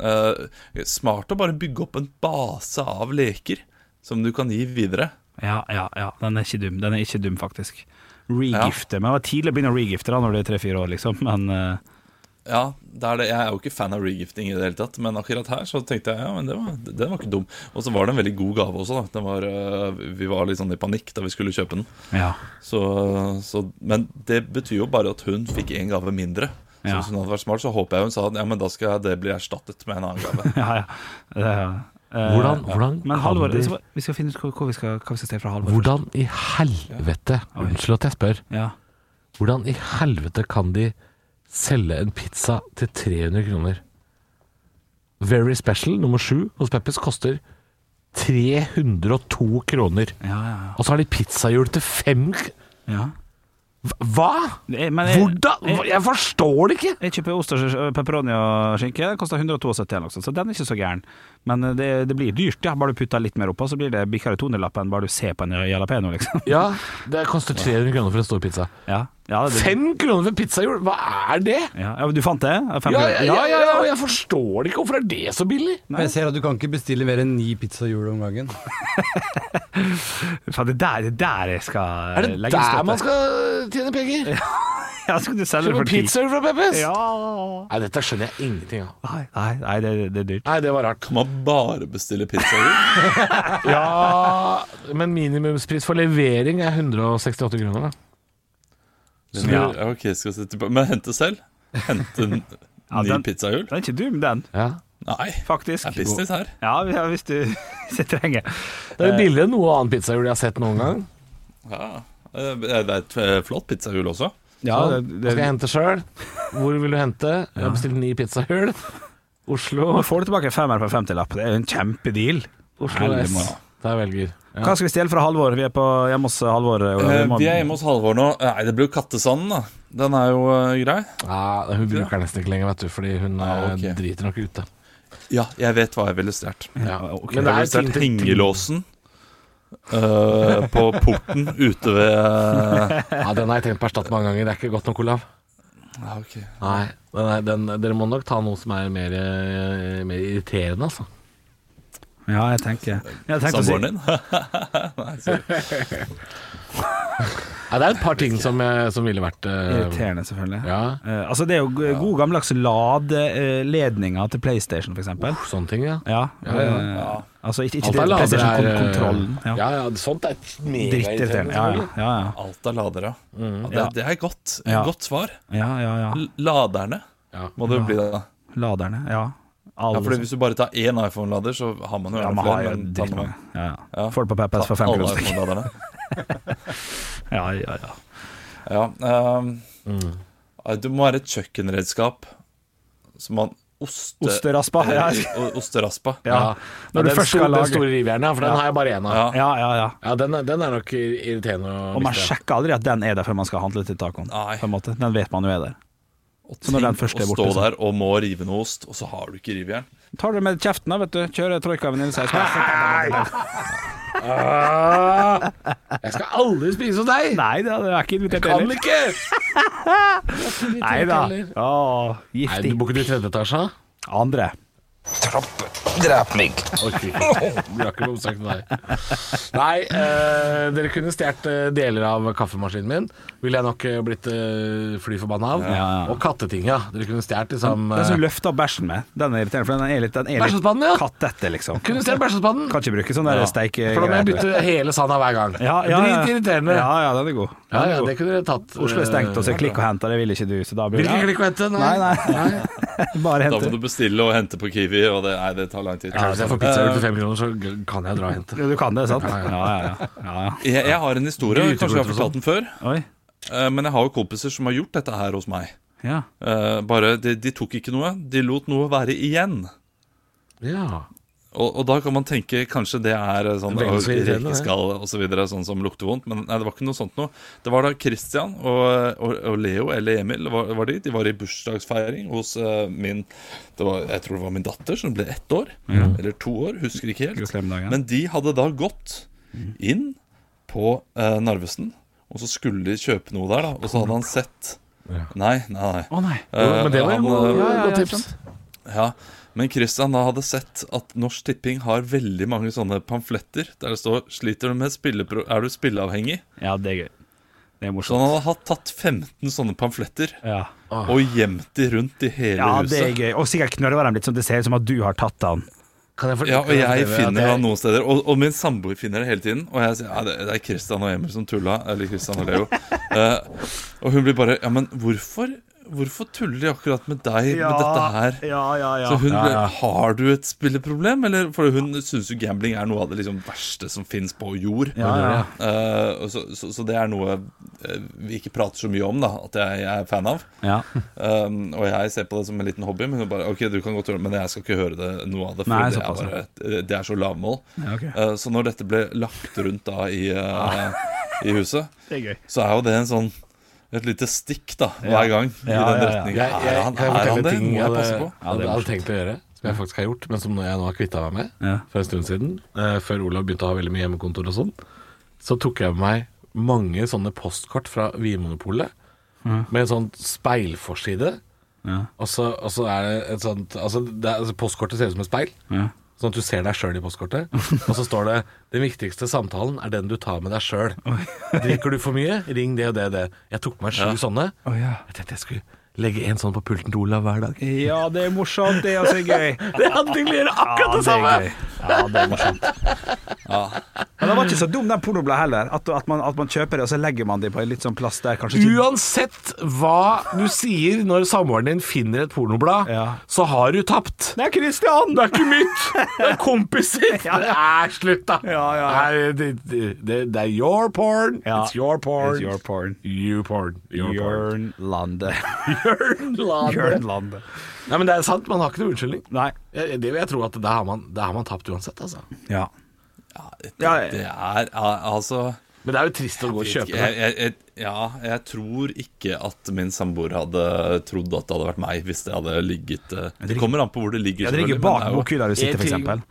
Eh, smart å bare bygge opp en base av leker som du kan gi videre. Ja, ja, ja. Den er ikke dum, Den er ikke dum faktisk. Regifte. Men det var tidlig å begynne å regifte da når du er tre-fire år, liksom. Men eh, Ja, det er det. Jeg er jo ikke fan av regifting i det hele tatt, men akkurat her så tenkte jeg ja, men det var, den var ikke dum. Og så var det en veldig god gave også, da. Den var, eh, vi var litt sånn i panikk da vi skulle kjøpe den. ja. Så, så, men det betyr jo bare at hun fikk en gave mindre. Så Ja. hvis hun hadde vært smart, så håper jeg hun sa at ja, men da skal det bli erstattet med en annen gave. ja, ja. Eh, eh, Hvordan, hvordan Men kan Halvor, de- altså- så- vi skal finne ut hva, hva vi skal, hva vi skal se fra Halvor. Hvordan i helvete Unnskyld at jeg spør. Ja. Hvordan i helvete kan de selge en pizza til 300 kroner? Very Special nummer sju hos Peppers koster 302 kroner. Ja, ja, Og så har de pizzahjul til fem ja. k- ja. Hva?! Eh, Men jeg, Hvordan?! Hva- Jeg forstår det ikke! jeg kjøper ost og eh, pepperoni og skinke. Det koster 172 eller noe sånt, så den er ikke så gæren. Men eh, det, det blir dyrt, ja. Bare du putter litt mer oppå, så blir det bikkjer 200-lappen bare du ser på en jalapeño, liksom. Ja, det koster 300 kroner for en stor pizza. Ja. Ja, det, Fem kroner for pizzahjul, hva er det?! ja. ja, Du fant det? Fem Ja, kroner. ja, ja, ja, og jeg forstår det ikke! Hvorfor er det så billig? Men jeg ser at du kan ikke bestille mer enn ni pizzahjul om gangen. Faen, det der, det der jeg skal eh, Er det legge der støtet. man skal tjene penger? Ja, skal du selge det Kjøpe for ti? pizzaer fra Peppes? Ja. Nei, dette skjønner jeg ingenting av. Nei, nei, nei det, det er dyrt. Nei, det var rart. Kan man bare bestille pizzaer? Ja, men minimumspris for levering er 168 kroner, da. Så du- Ja. ja, ok, skal jeg sette på- Men hente selv? Hente n- Ja, ni den- pizzahjul? Den er ikke dum, den, Ja. Nei, det faktisk. er business her. Ja, ja, hvis du hvis jeg trenger. Det er billigere enn noe annet pizzahjul jeg har sett noen gang. Ja. Eh, Det er et eh, flott pizzahjul også. Ja, Så, det, Skal jeg det, hente sjøl? Hvor vil du hente? Jeg har bestilt ni pizzahjul. Oslo. nå får du tilbake en femmer på 50-lapp. Det er jo en kjempedeal. Oslo Heldig S. morgen. Da jeg velger. Ja. Hva skal vi stjele fra Halvor? Vi er på hjemme hos Halvor. Olav. Eh, må- Vi er hjemme hos Halvor nå. Eh, Nei, det blir jo Kattesanden, da. Den er jo eh, grei. Ja, hun bruker nesten ikke lenger, vet du, fordi hun Ja, ok. eh, driter nok ute. Ja, jeg vet hva jeg ville stjålet. Ja. ok. Men Jeg det ville er ting stjålet til hengelåsen eh, på porten ute ved Ja, Den har jeg tenkt på å erstatte mange ganger. Det er ikke godt nok, Olav. Ja, ok. Nei, den er, den, dere må nok ta noe som er mer, eh, mer irriterende, altså. Ja, jeg tenker Jeg tenkte å si Samboeren din? Nei, sorry. Ja, det er et par ting som, eh, som ville vært eh, irriterende, selvfølgelig. Ja, Eh, altså, det er jo g- gode gammeldags ladeledninger til PlayStation, for eksempel. sånne ting, ja. Ja, Ja, ja. eh, Altså, ikke, ikke Alt er det- ladere er, eh, PlayStation-kontrollen. Ja. ja, sånt er Drittirriterende. Ja, ja, megairriterende. ja, ja. Alt er ladere. Ja, det, Ja. det er godt. Ja. Godt svar. ja, ja, ja. L- Laderne Ja. må det jo bli, da. Laderne, ja. Alle Ja, fordi som- hvis du bare tar én iPhone-lader, så har man jo ja, gjerne man har jo flere. men tar man- dritmange. Ja, ja. Ja. Får det på PPS for Ta fem alle kroner. stykk. iPhone-laderne. Ja, ja, ja. Ja, ehm, Mm. Du må være et kjøkkenredskap som man oste, Osteraspa, ja. eh, Osteraspa. Ja. Når du den først skal store- Den lage store rivjernet, for den har jeg bare én av. Ja. Ja. Ja, ja, ja. den, er, den er nok irriterende å Og man miste. sjekker aldri at den er der før man skal handle til tacoen. Nei. På en måte. Den vet man jo er der. Og Så når den tenk første er å borte, stå så- der og må rive noe ost, og så har du ikke rivjern. Tar du med kjeften, da, vet du. Kjører troika venninnesaus. sånn. Ah, jeg skal aldri spise hos deg! Nei da, jeg er ikke invitert Kan heller. ikke! Nei da. Å, Nei, du giftig. bor ikke du i tredje etasje? da? Andre. Orker ikke. Vi har ikke bomsagt med deg. Nei, eh, dere kunne stjålet eh, deler av kaffemaskinen min. Ville jeg nok eh, blitt eh, fly forbanna av. ja. Og kattetinga. Dere kunne stjålet liksom Den som du løfter bæsjen med, den er irriterende, for den er litt, den er litt Bæsjespannen, ja! kattete, liksom. Kunne stjålet bæsjespannen. Kan ikke bruke sånn der Ja. steikegreier. For da må jeg bytte hele sanda hver gang. ja, ja, ja. Dritirriterende. Ja, ja, den er god. Den Ja, er ja, god. det kunne dere tatt. eh, Oslo er stengt, og så er klikk og hent, og det vil ikke du, så da blir Hvilke det klikk og hente? Nei, nei. Bare Da må hente. du bestille og hente på Kiwi, og det, nei, det tar lang tid. Ja, hvis jeg får pizza for 45 kroner, så g- kan jeg dra og hente. Ja, Du kan det, sant? Ja, ja, ja. ja, ja. Jeg, jeg har en historie, Grytegodt kanskje jeg har og fortalt den før. Oi. eh, Men jeg har jo kompiser som har gjort dette her hos meg. Ja. Eh, Bare, de, de tok ikke noe, de lot noe være igjen. Ja. Og, og da kan man tenke kanskje det er eh, sånn Veldig «Å, så irriterende, det». rekeskall og så videre, sånn som lukter vondt. Men nei, det var ikke noe sånt noe. Det var da Christian og, og, og Leo eller Emil var, var de. De var i bursdagsfeiring hos eh, min det var, Jeg tror det var min datter som ble ett år. Eller to år, husker ikke helt. Gratulerer med dagen. Men de hadde da gått inn på eh, Narvesen, og så skulle de kjøpe noe der, da. Og så hadde han sett Nei, nei, nei. Å nei. Eh, Men det var han jo hadde- ja, ja, godt ja, tips. ja, men Christian da hadde sett at Norsk Tipping har veldig mange sånne pamfletter der det står 'Sliter du med spillepro... Er du spilleavhengig?' Ja, det er gøy. Det er Så han morsomt. hadde hatt- tatt 15 sånne pamfletter Ja, og gjemt de rundt i hele Ah. ja det er huset. gøy. Og sikkert knørva dem litt, sånn at det ser ut som at du har tatt han. Kan jeg få- Ja, og kan jeg fortelle at finner jeg- han noen steder, og, og min samboer finner det hele tiden. Og jeg sier ja, det, det er Christian og Emil som tulla. Eller Christian og Leo. Eh, og hun blir bare Ja, men hvorfor, hvorfor tuller de akkurat med deg med dette her? Ja, ja, ja. Så hun, Ja, ja. Har du et spilleproblem? Eller, for hun syns jo gambling er noe av det liksom verste som fins på jord. ja, ja. Eh, og så, så, så det er noe eh, vi ikke prater så mye om, da at jeg, jeg er fan av. ja. Um, og jeg ser på det som en liten hobby, men hun bare OK, du kan godt gjøre det, men jeg skal ikke høre det, noe av det. For Nei, det, er såpass, bare, det- det er så lavmål. ja ok. Eh, så når dette ble lagt rundt da i, eh, Ah. i huset, Det er gøy. så er jo det en sånn et lite stikk da hver gang i Ja, den ja, ja. retningen. Jeg, jeg, er han, kan jeg er han fortelle det? ting Må jeg jeg eh, passe på? hadde, hadde, hadde tenkt å gjøre, som jeg faktisk har gjort, men som nå- jeg nå har kvitta meg med Ja. for en stund siden. eh, før Olav begynte å ha veldig mye hjemmekontor og sånn. Så tok jeg med meg mange sånne postkort fra Vinmonopolet med en sånn speilforside. Og, så, og så er det et sånt altså, det er, altså Postkortet ser ut som et speil, Ja. sånn at du ser deg sjøl i postkortet. og så står det 'Den viktigste samtalen er den du tar med deg sjøl'. Drikker du for mye, ring det og det og det. Jeg tok med meg sju sånne. Å, ja. Jeg tenkte jeg skulle legge en sånn på pulten til Olav hver dag. ja, det er morsomt. Det er også gøy. Det hadde tenkt å gjøre akkurat det samme! Ja, det er gøy. Ja, det er morsomt. Men det var ikke så dum den pornobla heller. At, at, man, at man kjøper det, og så legger man det på en litt sånn plass der kanskje ikke Uansett hva du sier når samboeren din finner et pornoblad, Ja. så har du tapt. Det er Christian! Det er ikke mitt! Det er kompiser! Nei, slutt, da! Ja, ja. Nei, det, det, det, det er your porn. Ja. It's your porn. It's your porn. You porn. Your Jørn porn. Lande. Jørn Lande. Jørn Lande. Nei, men det er sant, man har ikke noe unnskyldning. Nei. Jeg, det vil jeg tro at der har man, der har man tapt uansett, altså. Ja. Ja, Ja, ja. det, det er al- altså Men det er jo trist å gå og kjøpe det. jeg, jeg, jeg, ja, jeg tror ikke at min samboer hadde trodd at det hadde vært meg hvis det hadde ligget eh, Det kommer an på hvor det ligger. Ja, det ligger selvfølgelig, bak men det er jo- bokhylla du sitter, Jeg tenker- f.eks.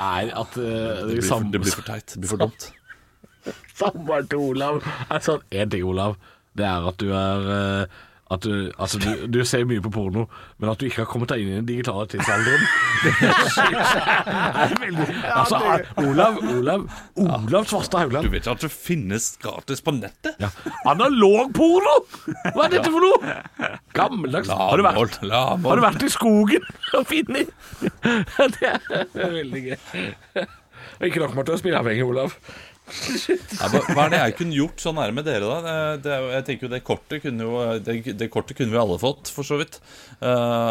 Er at eh, Det blir, for, sam- det blir for teit. Det blir for dumt. Samboeren til Olav er sånn En ting, Olav, det er at du er eh, at du, altså du, du ser mye på porno, men at du ikke har kommet deg inn i den digitale tidsalderen Det synes jeg er veldig Altså, er- Olav Olav, Olav Svarstad Du Haugland. vet ikke at det finnes gratis på nettet? Ja. Analog porno! Hva er dette for noe? Gammeldags. Har du vært, Lavmål, lavmål. har du vært i skogen og funnet Det er veldig gøy. Og ikke nok med at du er spilleavhengig, Olav. Nei, hva, hva er det jeg kunne gjort sånn her med dere, da? Det, det, er jo- jeg tenker jo det kortet kunne jo det, det kortet kunne vi alle fått, for så vidt. Eh,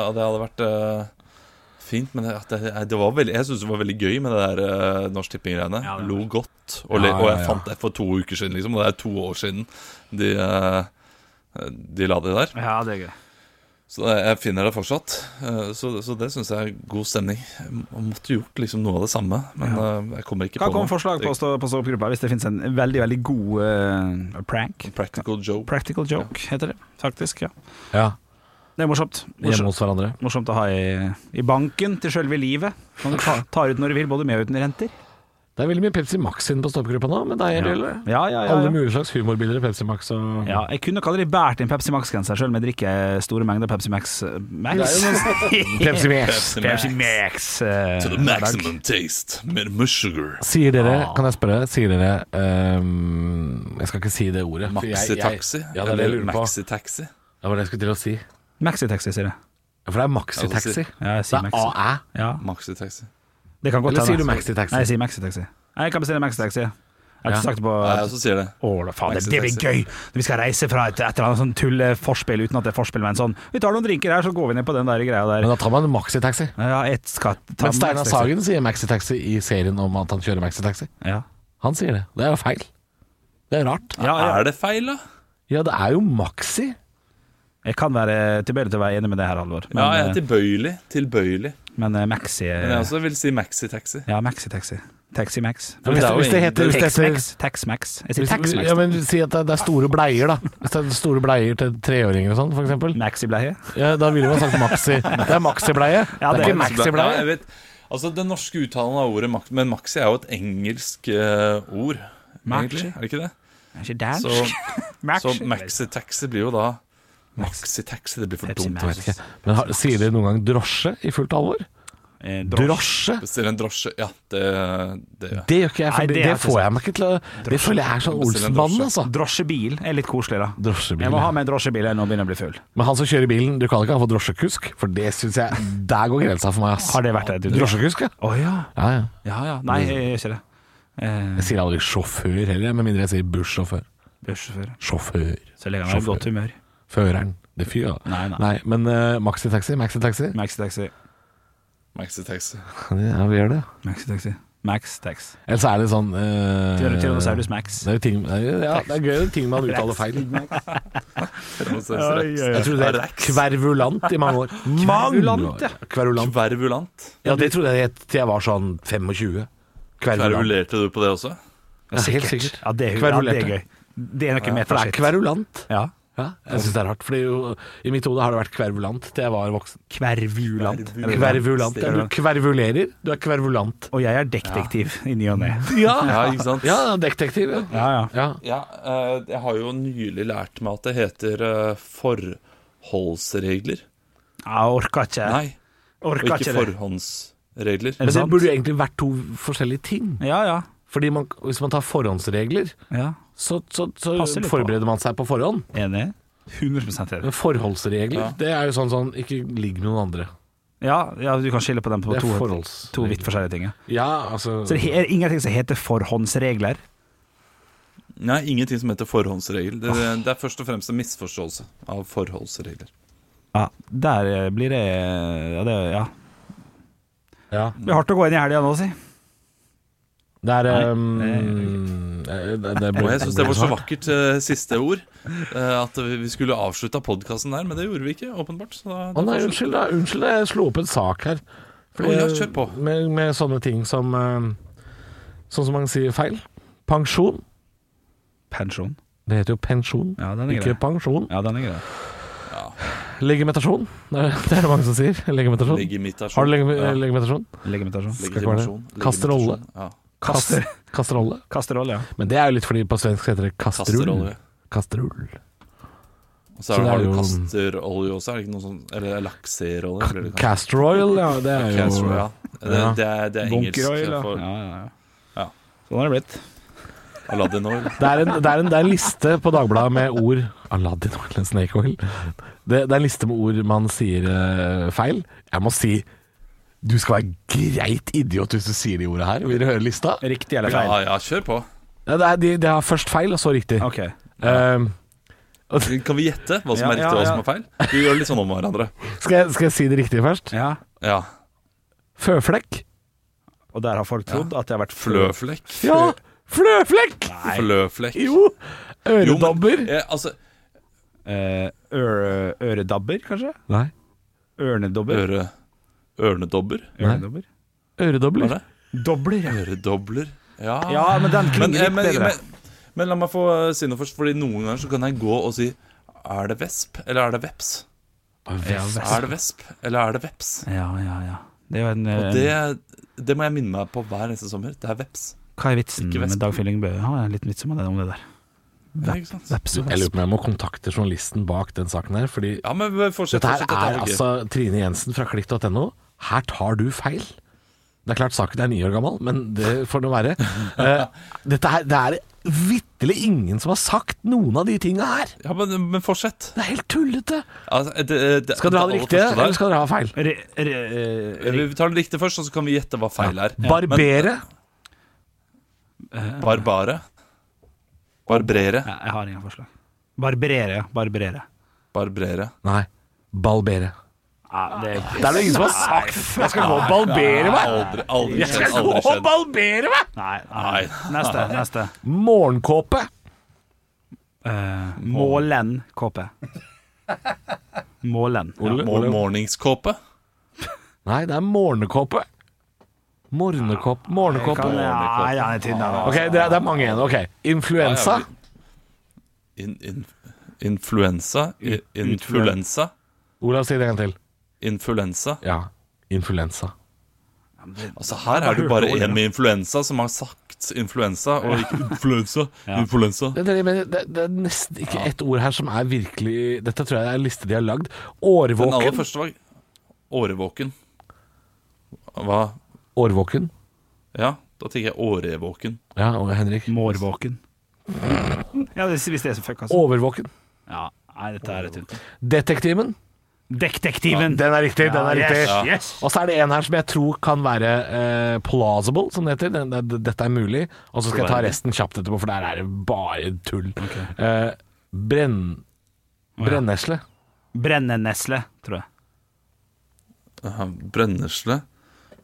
og det hadde vært eh, fint. Men det, at det, det var veldig, jeg syns det var veldig gøy med det der eh, Norsk Tipping-greiene. Lo godt. Og, le- Ja, ja, og jeg ja. fant det for to uker siden, liksom. Og det er to år siden de eh, eh, de la det der. Ja, det er gøy. Så jeg finner det fortsatt. Eh, Så, så det syns jeg er god stemning. Jeg måtte gjort liksom noe av det samme, men eh, jeg kommer ikke Hva på kom noe. forslag på, stå, på stå-opp-gruppa hvis det finnes en veldig, veldig god eh, prank? Practical joke. Practical joke heter det, faktisk. ja Ja, Det er morsomt. Hjemme Morsomt, hos hverandre. morsomt å ha i, i banken til selve livet. Kan du ta, ta ut når du vil, både med og uten renter. Det er veldig mye Pepsi Max inn på stoppgruppa nå, men det er Ja, ja, ja, alle ja, ja. mulige slags humorbilder i Pepsi Max og ja Jeg kunne ikke aldri båret inn Pepsi Max-genser selv om jeg drikker store mengder Pepsi Max. eh, Max. Pepsi Max. Pepsi Max. Pepsi Max. eh, To the hver dag. maximum taste. Med more sugar. Sier dere, kan jeg spørre, sier dere ehm, Jeg skal ikke si det ordet. for jeg- Maxitaxi? jeg- Ja, det er det jeg eller lurer på. Det maxitaxi? var det jeg skulle til å si. Maxitaxi, sier jeg. For det er maxitaxi. Det Ja, jeg sier er Maxi. AÆ. Ja, Maxitaxi. det kan godt Ah. hende. Eller altså. sier du maxitaxi? Nei, jeg sier Maxitaxi. Nei, Jeg kan bestille Maxitaxi. Jeg har Ja. altså- ikke sagt det på Nei, jeg også sier det. Å, da faen, det, det blir Maxitaxi. gøy! Vi skal reise fra et, et eller annet sånn tulleforspill uten at det er forspill, men sånn Vi tar noen drinker her, så går vi ned på den der greia der. Men da tar man maxitaxi. Ja, jeg skal ta Men Steinar Maxitaxi. Sagen sier maxitaxi i serien om at han kjører maxitaxi. Ja. Han sier det. Det er jo feil. Det er rart. Ja, ja. Er det feil, da? Ja, det er jo maxi. Jeg kan være tilbøyelig til å være enig med det her, Halvor, men, Ja, jeg er eh, tilbøyelig. Tilbøyelig. men eh, Maxi Men jeg altså- eh, også vil si maxitaxi. Ja, Maxitaxi. Taxi Max. Men Hvis det det, er jo hvis det heter hvis det heter- Tax-Max. Tax-Max. Jeg sier hvis, Tax-Max. ja, men Si at det det er store bleier, da. Hvis det er store bleier til treåringer og sånn, f.eks. Maxi-bleie. Ja, da ville man sagt maxi. Det er maxibleie. Ja, det det er er ikke Ja, maxibleie. jeg vet. Altså, Den norske uttalen av ordet maxi, men maxi er jo et engelsk eh, ord. Maxi. Egentlig, er det ikke det? Er Ikke dansk. Så, så Maxi. maxitaxi blir jo da Maxitaxi, det blir for Pepsi dumt. Max. vet du. Men har, sier dere noen gang drosje i fullt alvor? Eh, Drosje? Bestiller en drosje. Ja, det, det gjør jeg. Det gjør ikke jeg, for Nei, det det, er det ikke får jeg meg ikke til å Det føler jeg er sånn Bestiller en Olsenbanden, altså. drosje- Drosjebil er litt koselig, da. Drosjebil, Jeg må ja. ha med en drosjebil jeg nå begynner jeg å bli full. Men han som kjører bilen, du kaller ikke han for drosjekusk, for det syns jeg Der går grensa for meg, ass. Har det vært Mm. der? Drosjekusk, ja. Å ja. ja, ja. Ja ja. Nei, Mm. jeg gjør ikke det. Eh, Jeg sier aldri sjåfør heller, med mindre jeg sier bussjåfør. Bussjåfør. Sjåfør. Så lenge han er i Sjåfør. godt humør. Føreren. Det er fyr, da. Nei, nei. Nei, men uh, maxitaxi, maxitaxi. Maxi-taxi. Maxitaxi. Ja, vi gjør det. Maxi-taxi. Max-tax. Eller så er det sånn eh, Tyrannosaurus Max. Det er jo ting, det er jo- ja, det er gøy det er ting man uttaler feil. Jeg trodde det het kvervulant i mange år. Kvervulant, ja. ja. Kvervulant. Kvervulant. Ja, det trodde jeg het til jeg var sånn 25. Kvervulant. Kverulerte du på det også? Ja, helt sikkert. Ja, det er, ja, det Kverulerte. er gøy. Det er noe For det er metasitt. kverulant. Ja. Ja, jeg syns det er rart, Fordi jo, i mitt hode har det vært kvervulant til jeg var voksen. Kvervulant. Kvervulant. Ja, du Kvervulant. kvervulerer, du er kvervulant. Og jeg er detektiv i ny og ne. Ja, Ja, ikke sant? ja detektiv. Ja. Ja, ja. Ja. Ja, eh, jeg har jo nylig lært meg at det heter eh, forholdsregler. Jeg orker ikke. Nei, og orker ikke ikke det. forhåndsregler. Er det Men det sant? burde jo egentlig vært to forskjellige ting. Ja, ja. Fordi man, Hvis man tar forhåndsregler, ja. så, så, så Passer litt på. forbereder man seg på forhånd. Enig. 100 enig. Men forholdsregler, Ja. det er jo sånn sånn Ikke ligg med noen andre. Ja, ja, du kan skille på dem på Det er to, forholds... to vidt forskjellige ting. ja. Ja, altså Så det he- er ingenting som heter forhåndsregler. Nei, ingenting som heter forhåndsregel. Det, det er først og fremst en misforståelse av forholdsregler. Ja, der eh, blir det Ja, det ja. ja. Det blir hardt å gå inn i helga nå, si. Det er Nei, um, det er eh, det, det ble, Og jeg syns det ble var så hardt. vakkert eh, siste ord, eh, at vi vi skulle avslutta podkasten der, men det gjorde vi ikke, åpenbart. Så da, Å da nei, fortsetter- unnskyld, da, unnskyld, jeg slo opp en sak her. Eh, Å, ja, kjør på. Med, med sånne ting som eh, Sånn som man sier feil. Pensjon. Pensjon. Det heter jo pensjon, Ja, den er ikke grei. pensjon. Ja, den er grei. Legimetasjon. Det er det er det mange som sier. Legimetasjon. Legimitasjon. Har du legim Ja. legimetasjon? Legimitasjon. ikke være det. Legitimasjon. Kasterolle. Legitimasjon. Ja. Kaster. Kasterolle. Kasterolle, ja. Men det er jo litt fordi på svensk heter det kastrull. Kasterolje. Kastrull. Og så Så er det, det er har du jo- kasterolje også, er det ikke noe sånn Eller lakserolje? blir det kanskje. Castor oil, ja. Det er jo Castor, ja. Det, Ja. det, er, det er engelsk Bunkeroil, ja. for Ja, ja, ja. Ja. Sånn har det blitt. Aladdin oil. Det er, en, det, er en, det er en liste på Dagbladet med ord Aladdin oil and snake oil. Det, det er en liste med ord man sier eh, feil. Jeg må si du skal være greit idiot hvis du sier de ordene her. Vil dere høre lista? Riktig eller feil? Ja, ja, kjør på. Ja, det, er, de, de har først feil, og så riktig. OK. Ehm, Kan vi gjette hva som Ja, er riktig ja, og hva ja. som er feil? Vi gjør litt sånn om hverandre. skal, jeg, skal jeg si det riktige først? Ja. Ja. Føflekk. Og der har folk trodd at det har vært Fløflekk. Ja! Fløflekk! Fløflekk. Jo! Jo, men, Øredobber. eh, altså, eh, øre, øredabber, kanskje? Nei. Ørnedobber? Øre, ørnedobber, Øredobber? var Øredobler. det? Dobler, ja. Øredobler. Ja. Ja, men den men, klinger eh, litt men, bedre. men, men la meg få eh, si noe først, Fordi noen ganger så kan jeg gå og si Er det vesp, eller er det veps? Er det vesp, eller er det veps? Ja, ja, ja. Det er jo en, eh, Og en det, det må jeg minne meg på hver eneste sommer. Det er veps. Hva er vitsen Ikke med Vestby. Dag Fyllingbø? Han har en liten vits om det, om det der. Ja, ikke sant? Veps og Jeg lurer vesp. på om jeg må kontakte journalisten bak den saken her, fordi Ja, men fortsett. dette her fortsett, dette er er gøy. altså Trine Jensen fra klikk.no. Her tar du feil. Det er klart saken er ni år gammel, men det får nå være. Eh, Dette her, det er vitterlig ingen som har sagt noen av de tinga her. Ja, men, men fortsett. Det er helt tullete. Altså, det, det, Skal dere ha det aller riktige, første der- eller skal dere ha feil? Re, re, eh, Vi tar det riktige først, og så kan vi gjette hva feil er. Barbere. Men barbare. Barbrere. ja, jeg har ingen forslag. Barberere, ja. Barberere. Barbrere. Nei. Balbere. Ja, det er Det er det ingen som har sagt. Jeg skal gå og balbere meg. Aldri, aldri Jeg skjedd. skal gå Aldri og skjedd. balbere meg. Nei. nei. Nei. Neste. neste Morgenkåpe. Eh, Målen KP. Målen. Ja. Mor- Morningskåpe. Nei, det er morgenkåpe. Morgenkåpe. Morgenkåpe. Kan, ja, ja, det er tynn, den, altså. Ok, det er, det er mange igjen. Ok, Influensa. Ja, In, in, influensa. I, influensa. Olav, si det en gang til. Influensa. Ja, influensa. Altså Her er det jo bare en med influensa som har sagt influensa, og ikke influensa. Influensa. Det, det, men det, det er nesten ikke ett ord her som er virkelig Dette tror jeg er en liste de har lagd. Årvåken. Den aller første var årevåken. Hva Årvåken. Ja, da tenker jeg årevåken. Ja, og Henrik. Mårvåken. Ja, det- hvis det er så fuck, altså. Overvåken. Ja, nei, dette er tynt. Detektimen. Detektiven. Ah, Den er riktig. den er riktig. Yes, yes. Og så er det en her som jeg tror kan være eh, plausible, som det heter. Den, den, dette er mulig. Og så skal jeg ta resten kjapt etterpå, for der er det bare tull. Eh, brenn... Brennesle. Brennenesle, tror jeg. Aha, Brennesle.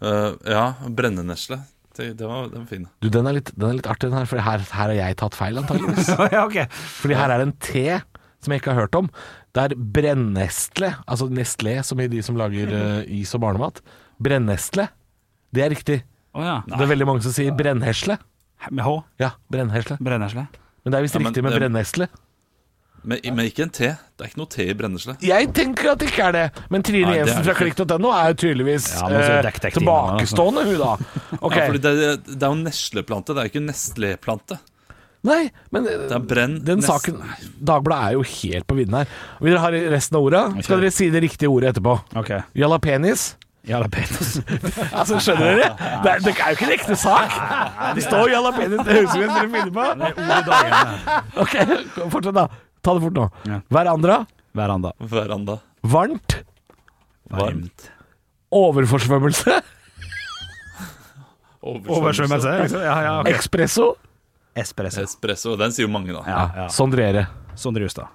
Eh, ja, brennenesle. Det, det var den var fin. Du, den er litt, den er litt artig, den her, for her, her har jeg tatt feil, antageligvis. ja, ok. Fordi her er det en te som jeg ikke har hørt om. Det er brennestle, altså Nestlé, som er de som lager eh, is og barnemat. Brennestle. Det er riktig. Å ja. Det er veldig mange som sier brennhesle. Med H. Ja, brennhesle. Brennesle. Men det er visst Ja, men riktig med det- brennesle. Men, men ikke en te. Det er ikke noe te i brennesle. Jeg tenker at det ikke er det, men Trine Nei, det er Jensen fra det klikk.no er jo tydeligvis Ja, men så er det eh, dekk- dekk- tilbakestående, hun da. Ok. Ja, fordi det, det er jo nesleplante, det er jo ikke nestleplante. Nei, men eh, Det er brenn... den nes- saken Dagbladet er jo helt på vidden her. Vil dere ha resten av ordet? Skal dere si det riktige ordet etterpå? Ok. Jalapenis. Jalapenos. Altså, skjønner dere? Det er, det er jo ikke en ekte sak! Det står jalapeños det høres ut som dere finner på. Ok, fortsett da. Ta det fort nå. Ja. Hverandre, Veranda. Veranda. varmt, Varmt. overforsvømmelse, Oversvømmelse, liksom. Ja, ja, ok. ekspresso, Sånn Espresso. Espresso. Den sier jo mange, da. Ja, ja. sondrere. Sondre Justad.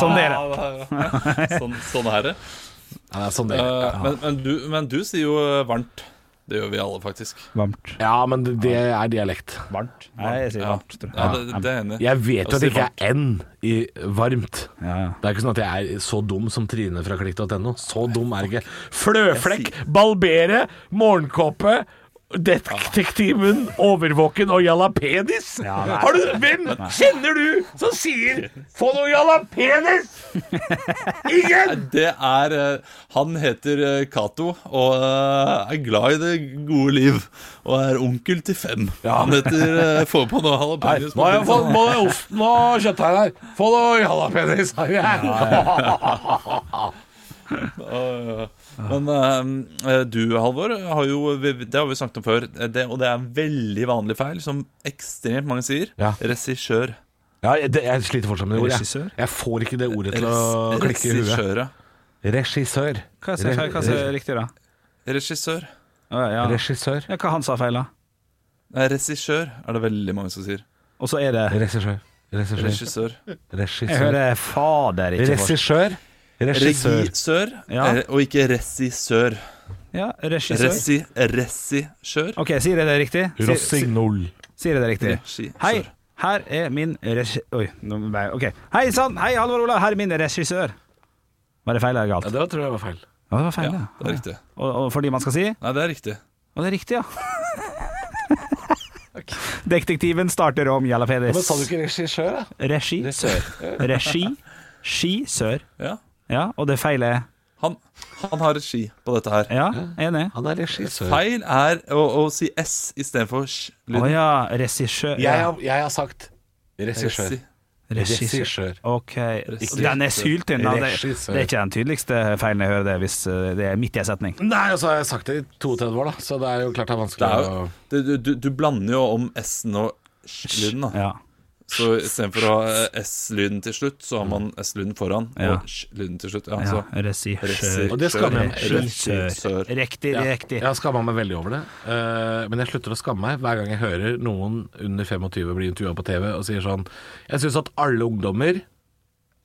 Sondere. Sånn, sånn er det. Ja, det er Eh, sondrere. men, men, du, men du sier jo eh, varmt. Det gjør vi alle, faktisk. Varmt. Ja, men det- det er dialekt. Varmt. Nei, jeg sier Ja, varmt, tror jeg. ja det, det er jeg enig. i. Jeg vet jo at det ikke er N i varmt. Ja, ja. Det er ikke sånn at jeg er så dum som Trine fra klikk.no. Så dum er jeg ikke. Fløflekk, balbere, morgenkåpe, detektiven, overvåken og jalapenis. Har du, hvem kjenner du som sier 'få noe jalapenis'? Ingen! Det er eh, Han heter eh, Cato og eh, er glad i det gode liv. Og er onkel til fem. Han heter eh, Får på noe jalapeños. på pizzaen. både osten og kjøttdeigen her. Få noe jalapenis. Ja, ja. Men eh, du, Halvor, har jo, det har vi snakket om før, eh, det, og det er en veldig vanlig feil som ekstremt mange sier. Ja. Regissør. Ja, jeg, det- jeg sliter fortsatt med det ordet. Regissør? Jeg, jeg får ikke det ordet til å Res- klikke i huet. Regissør. ja. Regissør. Hva sier hva sier riktig, da? Regissør. Å, Ja, ja. Regissør. Ja, Hva han sa feil, da? Nei, regissør er det veldig mange som sier. Og så er det Regissør. Regissør. Regissør. Jeg Regissør. hører fader ikke forstå. Regissør. Regissør. Regissør, Ja. eh, og ikke regissør. Ja, regissør. Resi, regissør. Ok, sier jeg det riktig? Sier, Rossignol. sier jeg det riktig? Regissør. Hei, Her er min regi... Oi, nå ble jeg OK. Hei sann! Hei, Halvor Olav, her er min regissør. Var det feil eller galt? Ja, det tror jeg var feil. Ja, det var feil, Ja, ja. det er riktig. Og, og fordi man skal si Nei, det er riktig. Og det er riktig, ja. Detektiven starter om Men sa du Jalapedes. ikke regissør, da? Regi. Regi. Skisør. Ja. Ja, og det feil er Han, han har regi på dette her. Ja, enig. Han er regissør. Feil er å, å si S istedenfor Å sj-lyden. ja, regissør. Jeg Ja, har, jeg har sagt regissør. regissør. Regissør. Ok. Regissør. Den er syltynn. da. Det, Regissør. det er ikke den tydeligste feilen jeg hører, det, hvis eh, det er midt i en setning. Nei, og så har jeg sagt det i 32 år, da, så det er jo klart det er Det vanskelig er å jo, du, du- du, du blander jo om S-en og sj-lyden. da Ja. Så istedenfor å ha eh, S-lyden til slutt, så har man S-lyden foran Ja. og sj-lyden til slutt. Ja, ja. så. Regissør. Regissør. Og det skammer jeg meg Regissør. Riktig, Ja, riktig. Jeg har skamma meg veldig over det, eh, men jeg slutter å skamme meg hver gang jeg hører noen under 25 bli intervjua på TV og sier sånn Jeg syns at alle ungdommer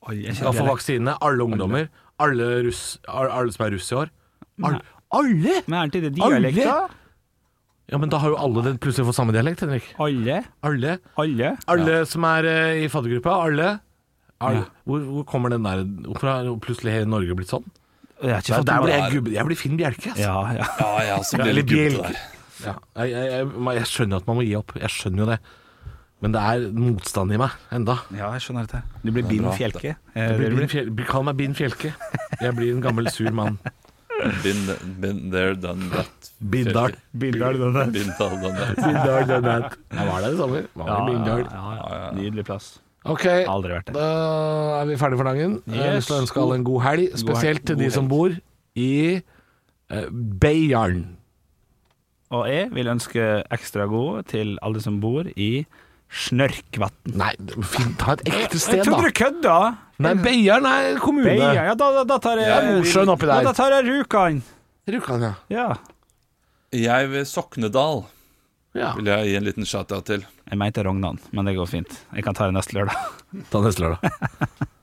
Oi, jeg skal få kjenner det. vaksine. Alle ungdommer. Alle, russ, al- alle som er russ i år. Al- alle?! Men er det ikke det Alle? dialekta? Ja, men da har jo alle den plutselig fått samme dialekt, Henrik. Alle? Alle. Alle? Alle som er eh, i faddergruppa. Alle. alle. Hvor, hvor kommer den der Hvorfor har plutselig hele Norge blitt sånn? Jeg har ikke Der, fått der med blir meg- jeg, gubbe, jeg blir Finn Bjelke, altså. Ja, ja. Ja, ja, så blir Eller det gubbete bjelke. der. Ja. Jeg, jeg, jeg, man- jeg skjønner at man må gi opp. Jeg skjønner jo det. Men det er motstand i meg enda. Ja, jeg skjønner dette. Du blir Bind bra. Fjelke. Jeg Eh, blir det Bin blir- Fjel, bli- kall meg Bin Fjelke. Jeg blir en gammel sur mann. Been, been there, done that. Bindal. Bindal, den der. Been there, done that. Bindal, den der. Jeg var der i sommer. Var i Ja, ja, Bindal. ja, ja. Nydelig plass. Ok, Aldri vært der. da er vi ferdige for dagen. Jeg har Yes. lyst til å ønske alle en god helg, spesielt til de som bor i eh, Beiarn. Og jeg vil ønske ekstra god til alle som bor i Snørkvatn. Nei, finn, ta et ekte sted, Jeg trodde da. du kødda! Nei, Beiarn er kommune. Beia, ja, da, da, da tar jeg Det er Nordsjøen oppi Ja, der. da tar jeg Rjukan. Rjukan, ja. Ja. Jeg ved Soknedal ja. vil jeg gi en liten shout-out til. Jeg mente Rognan, men det går fint. Jeg kan ta det neste lørdag. Ta neste lørdag.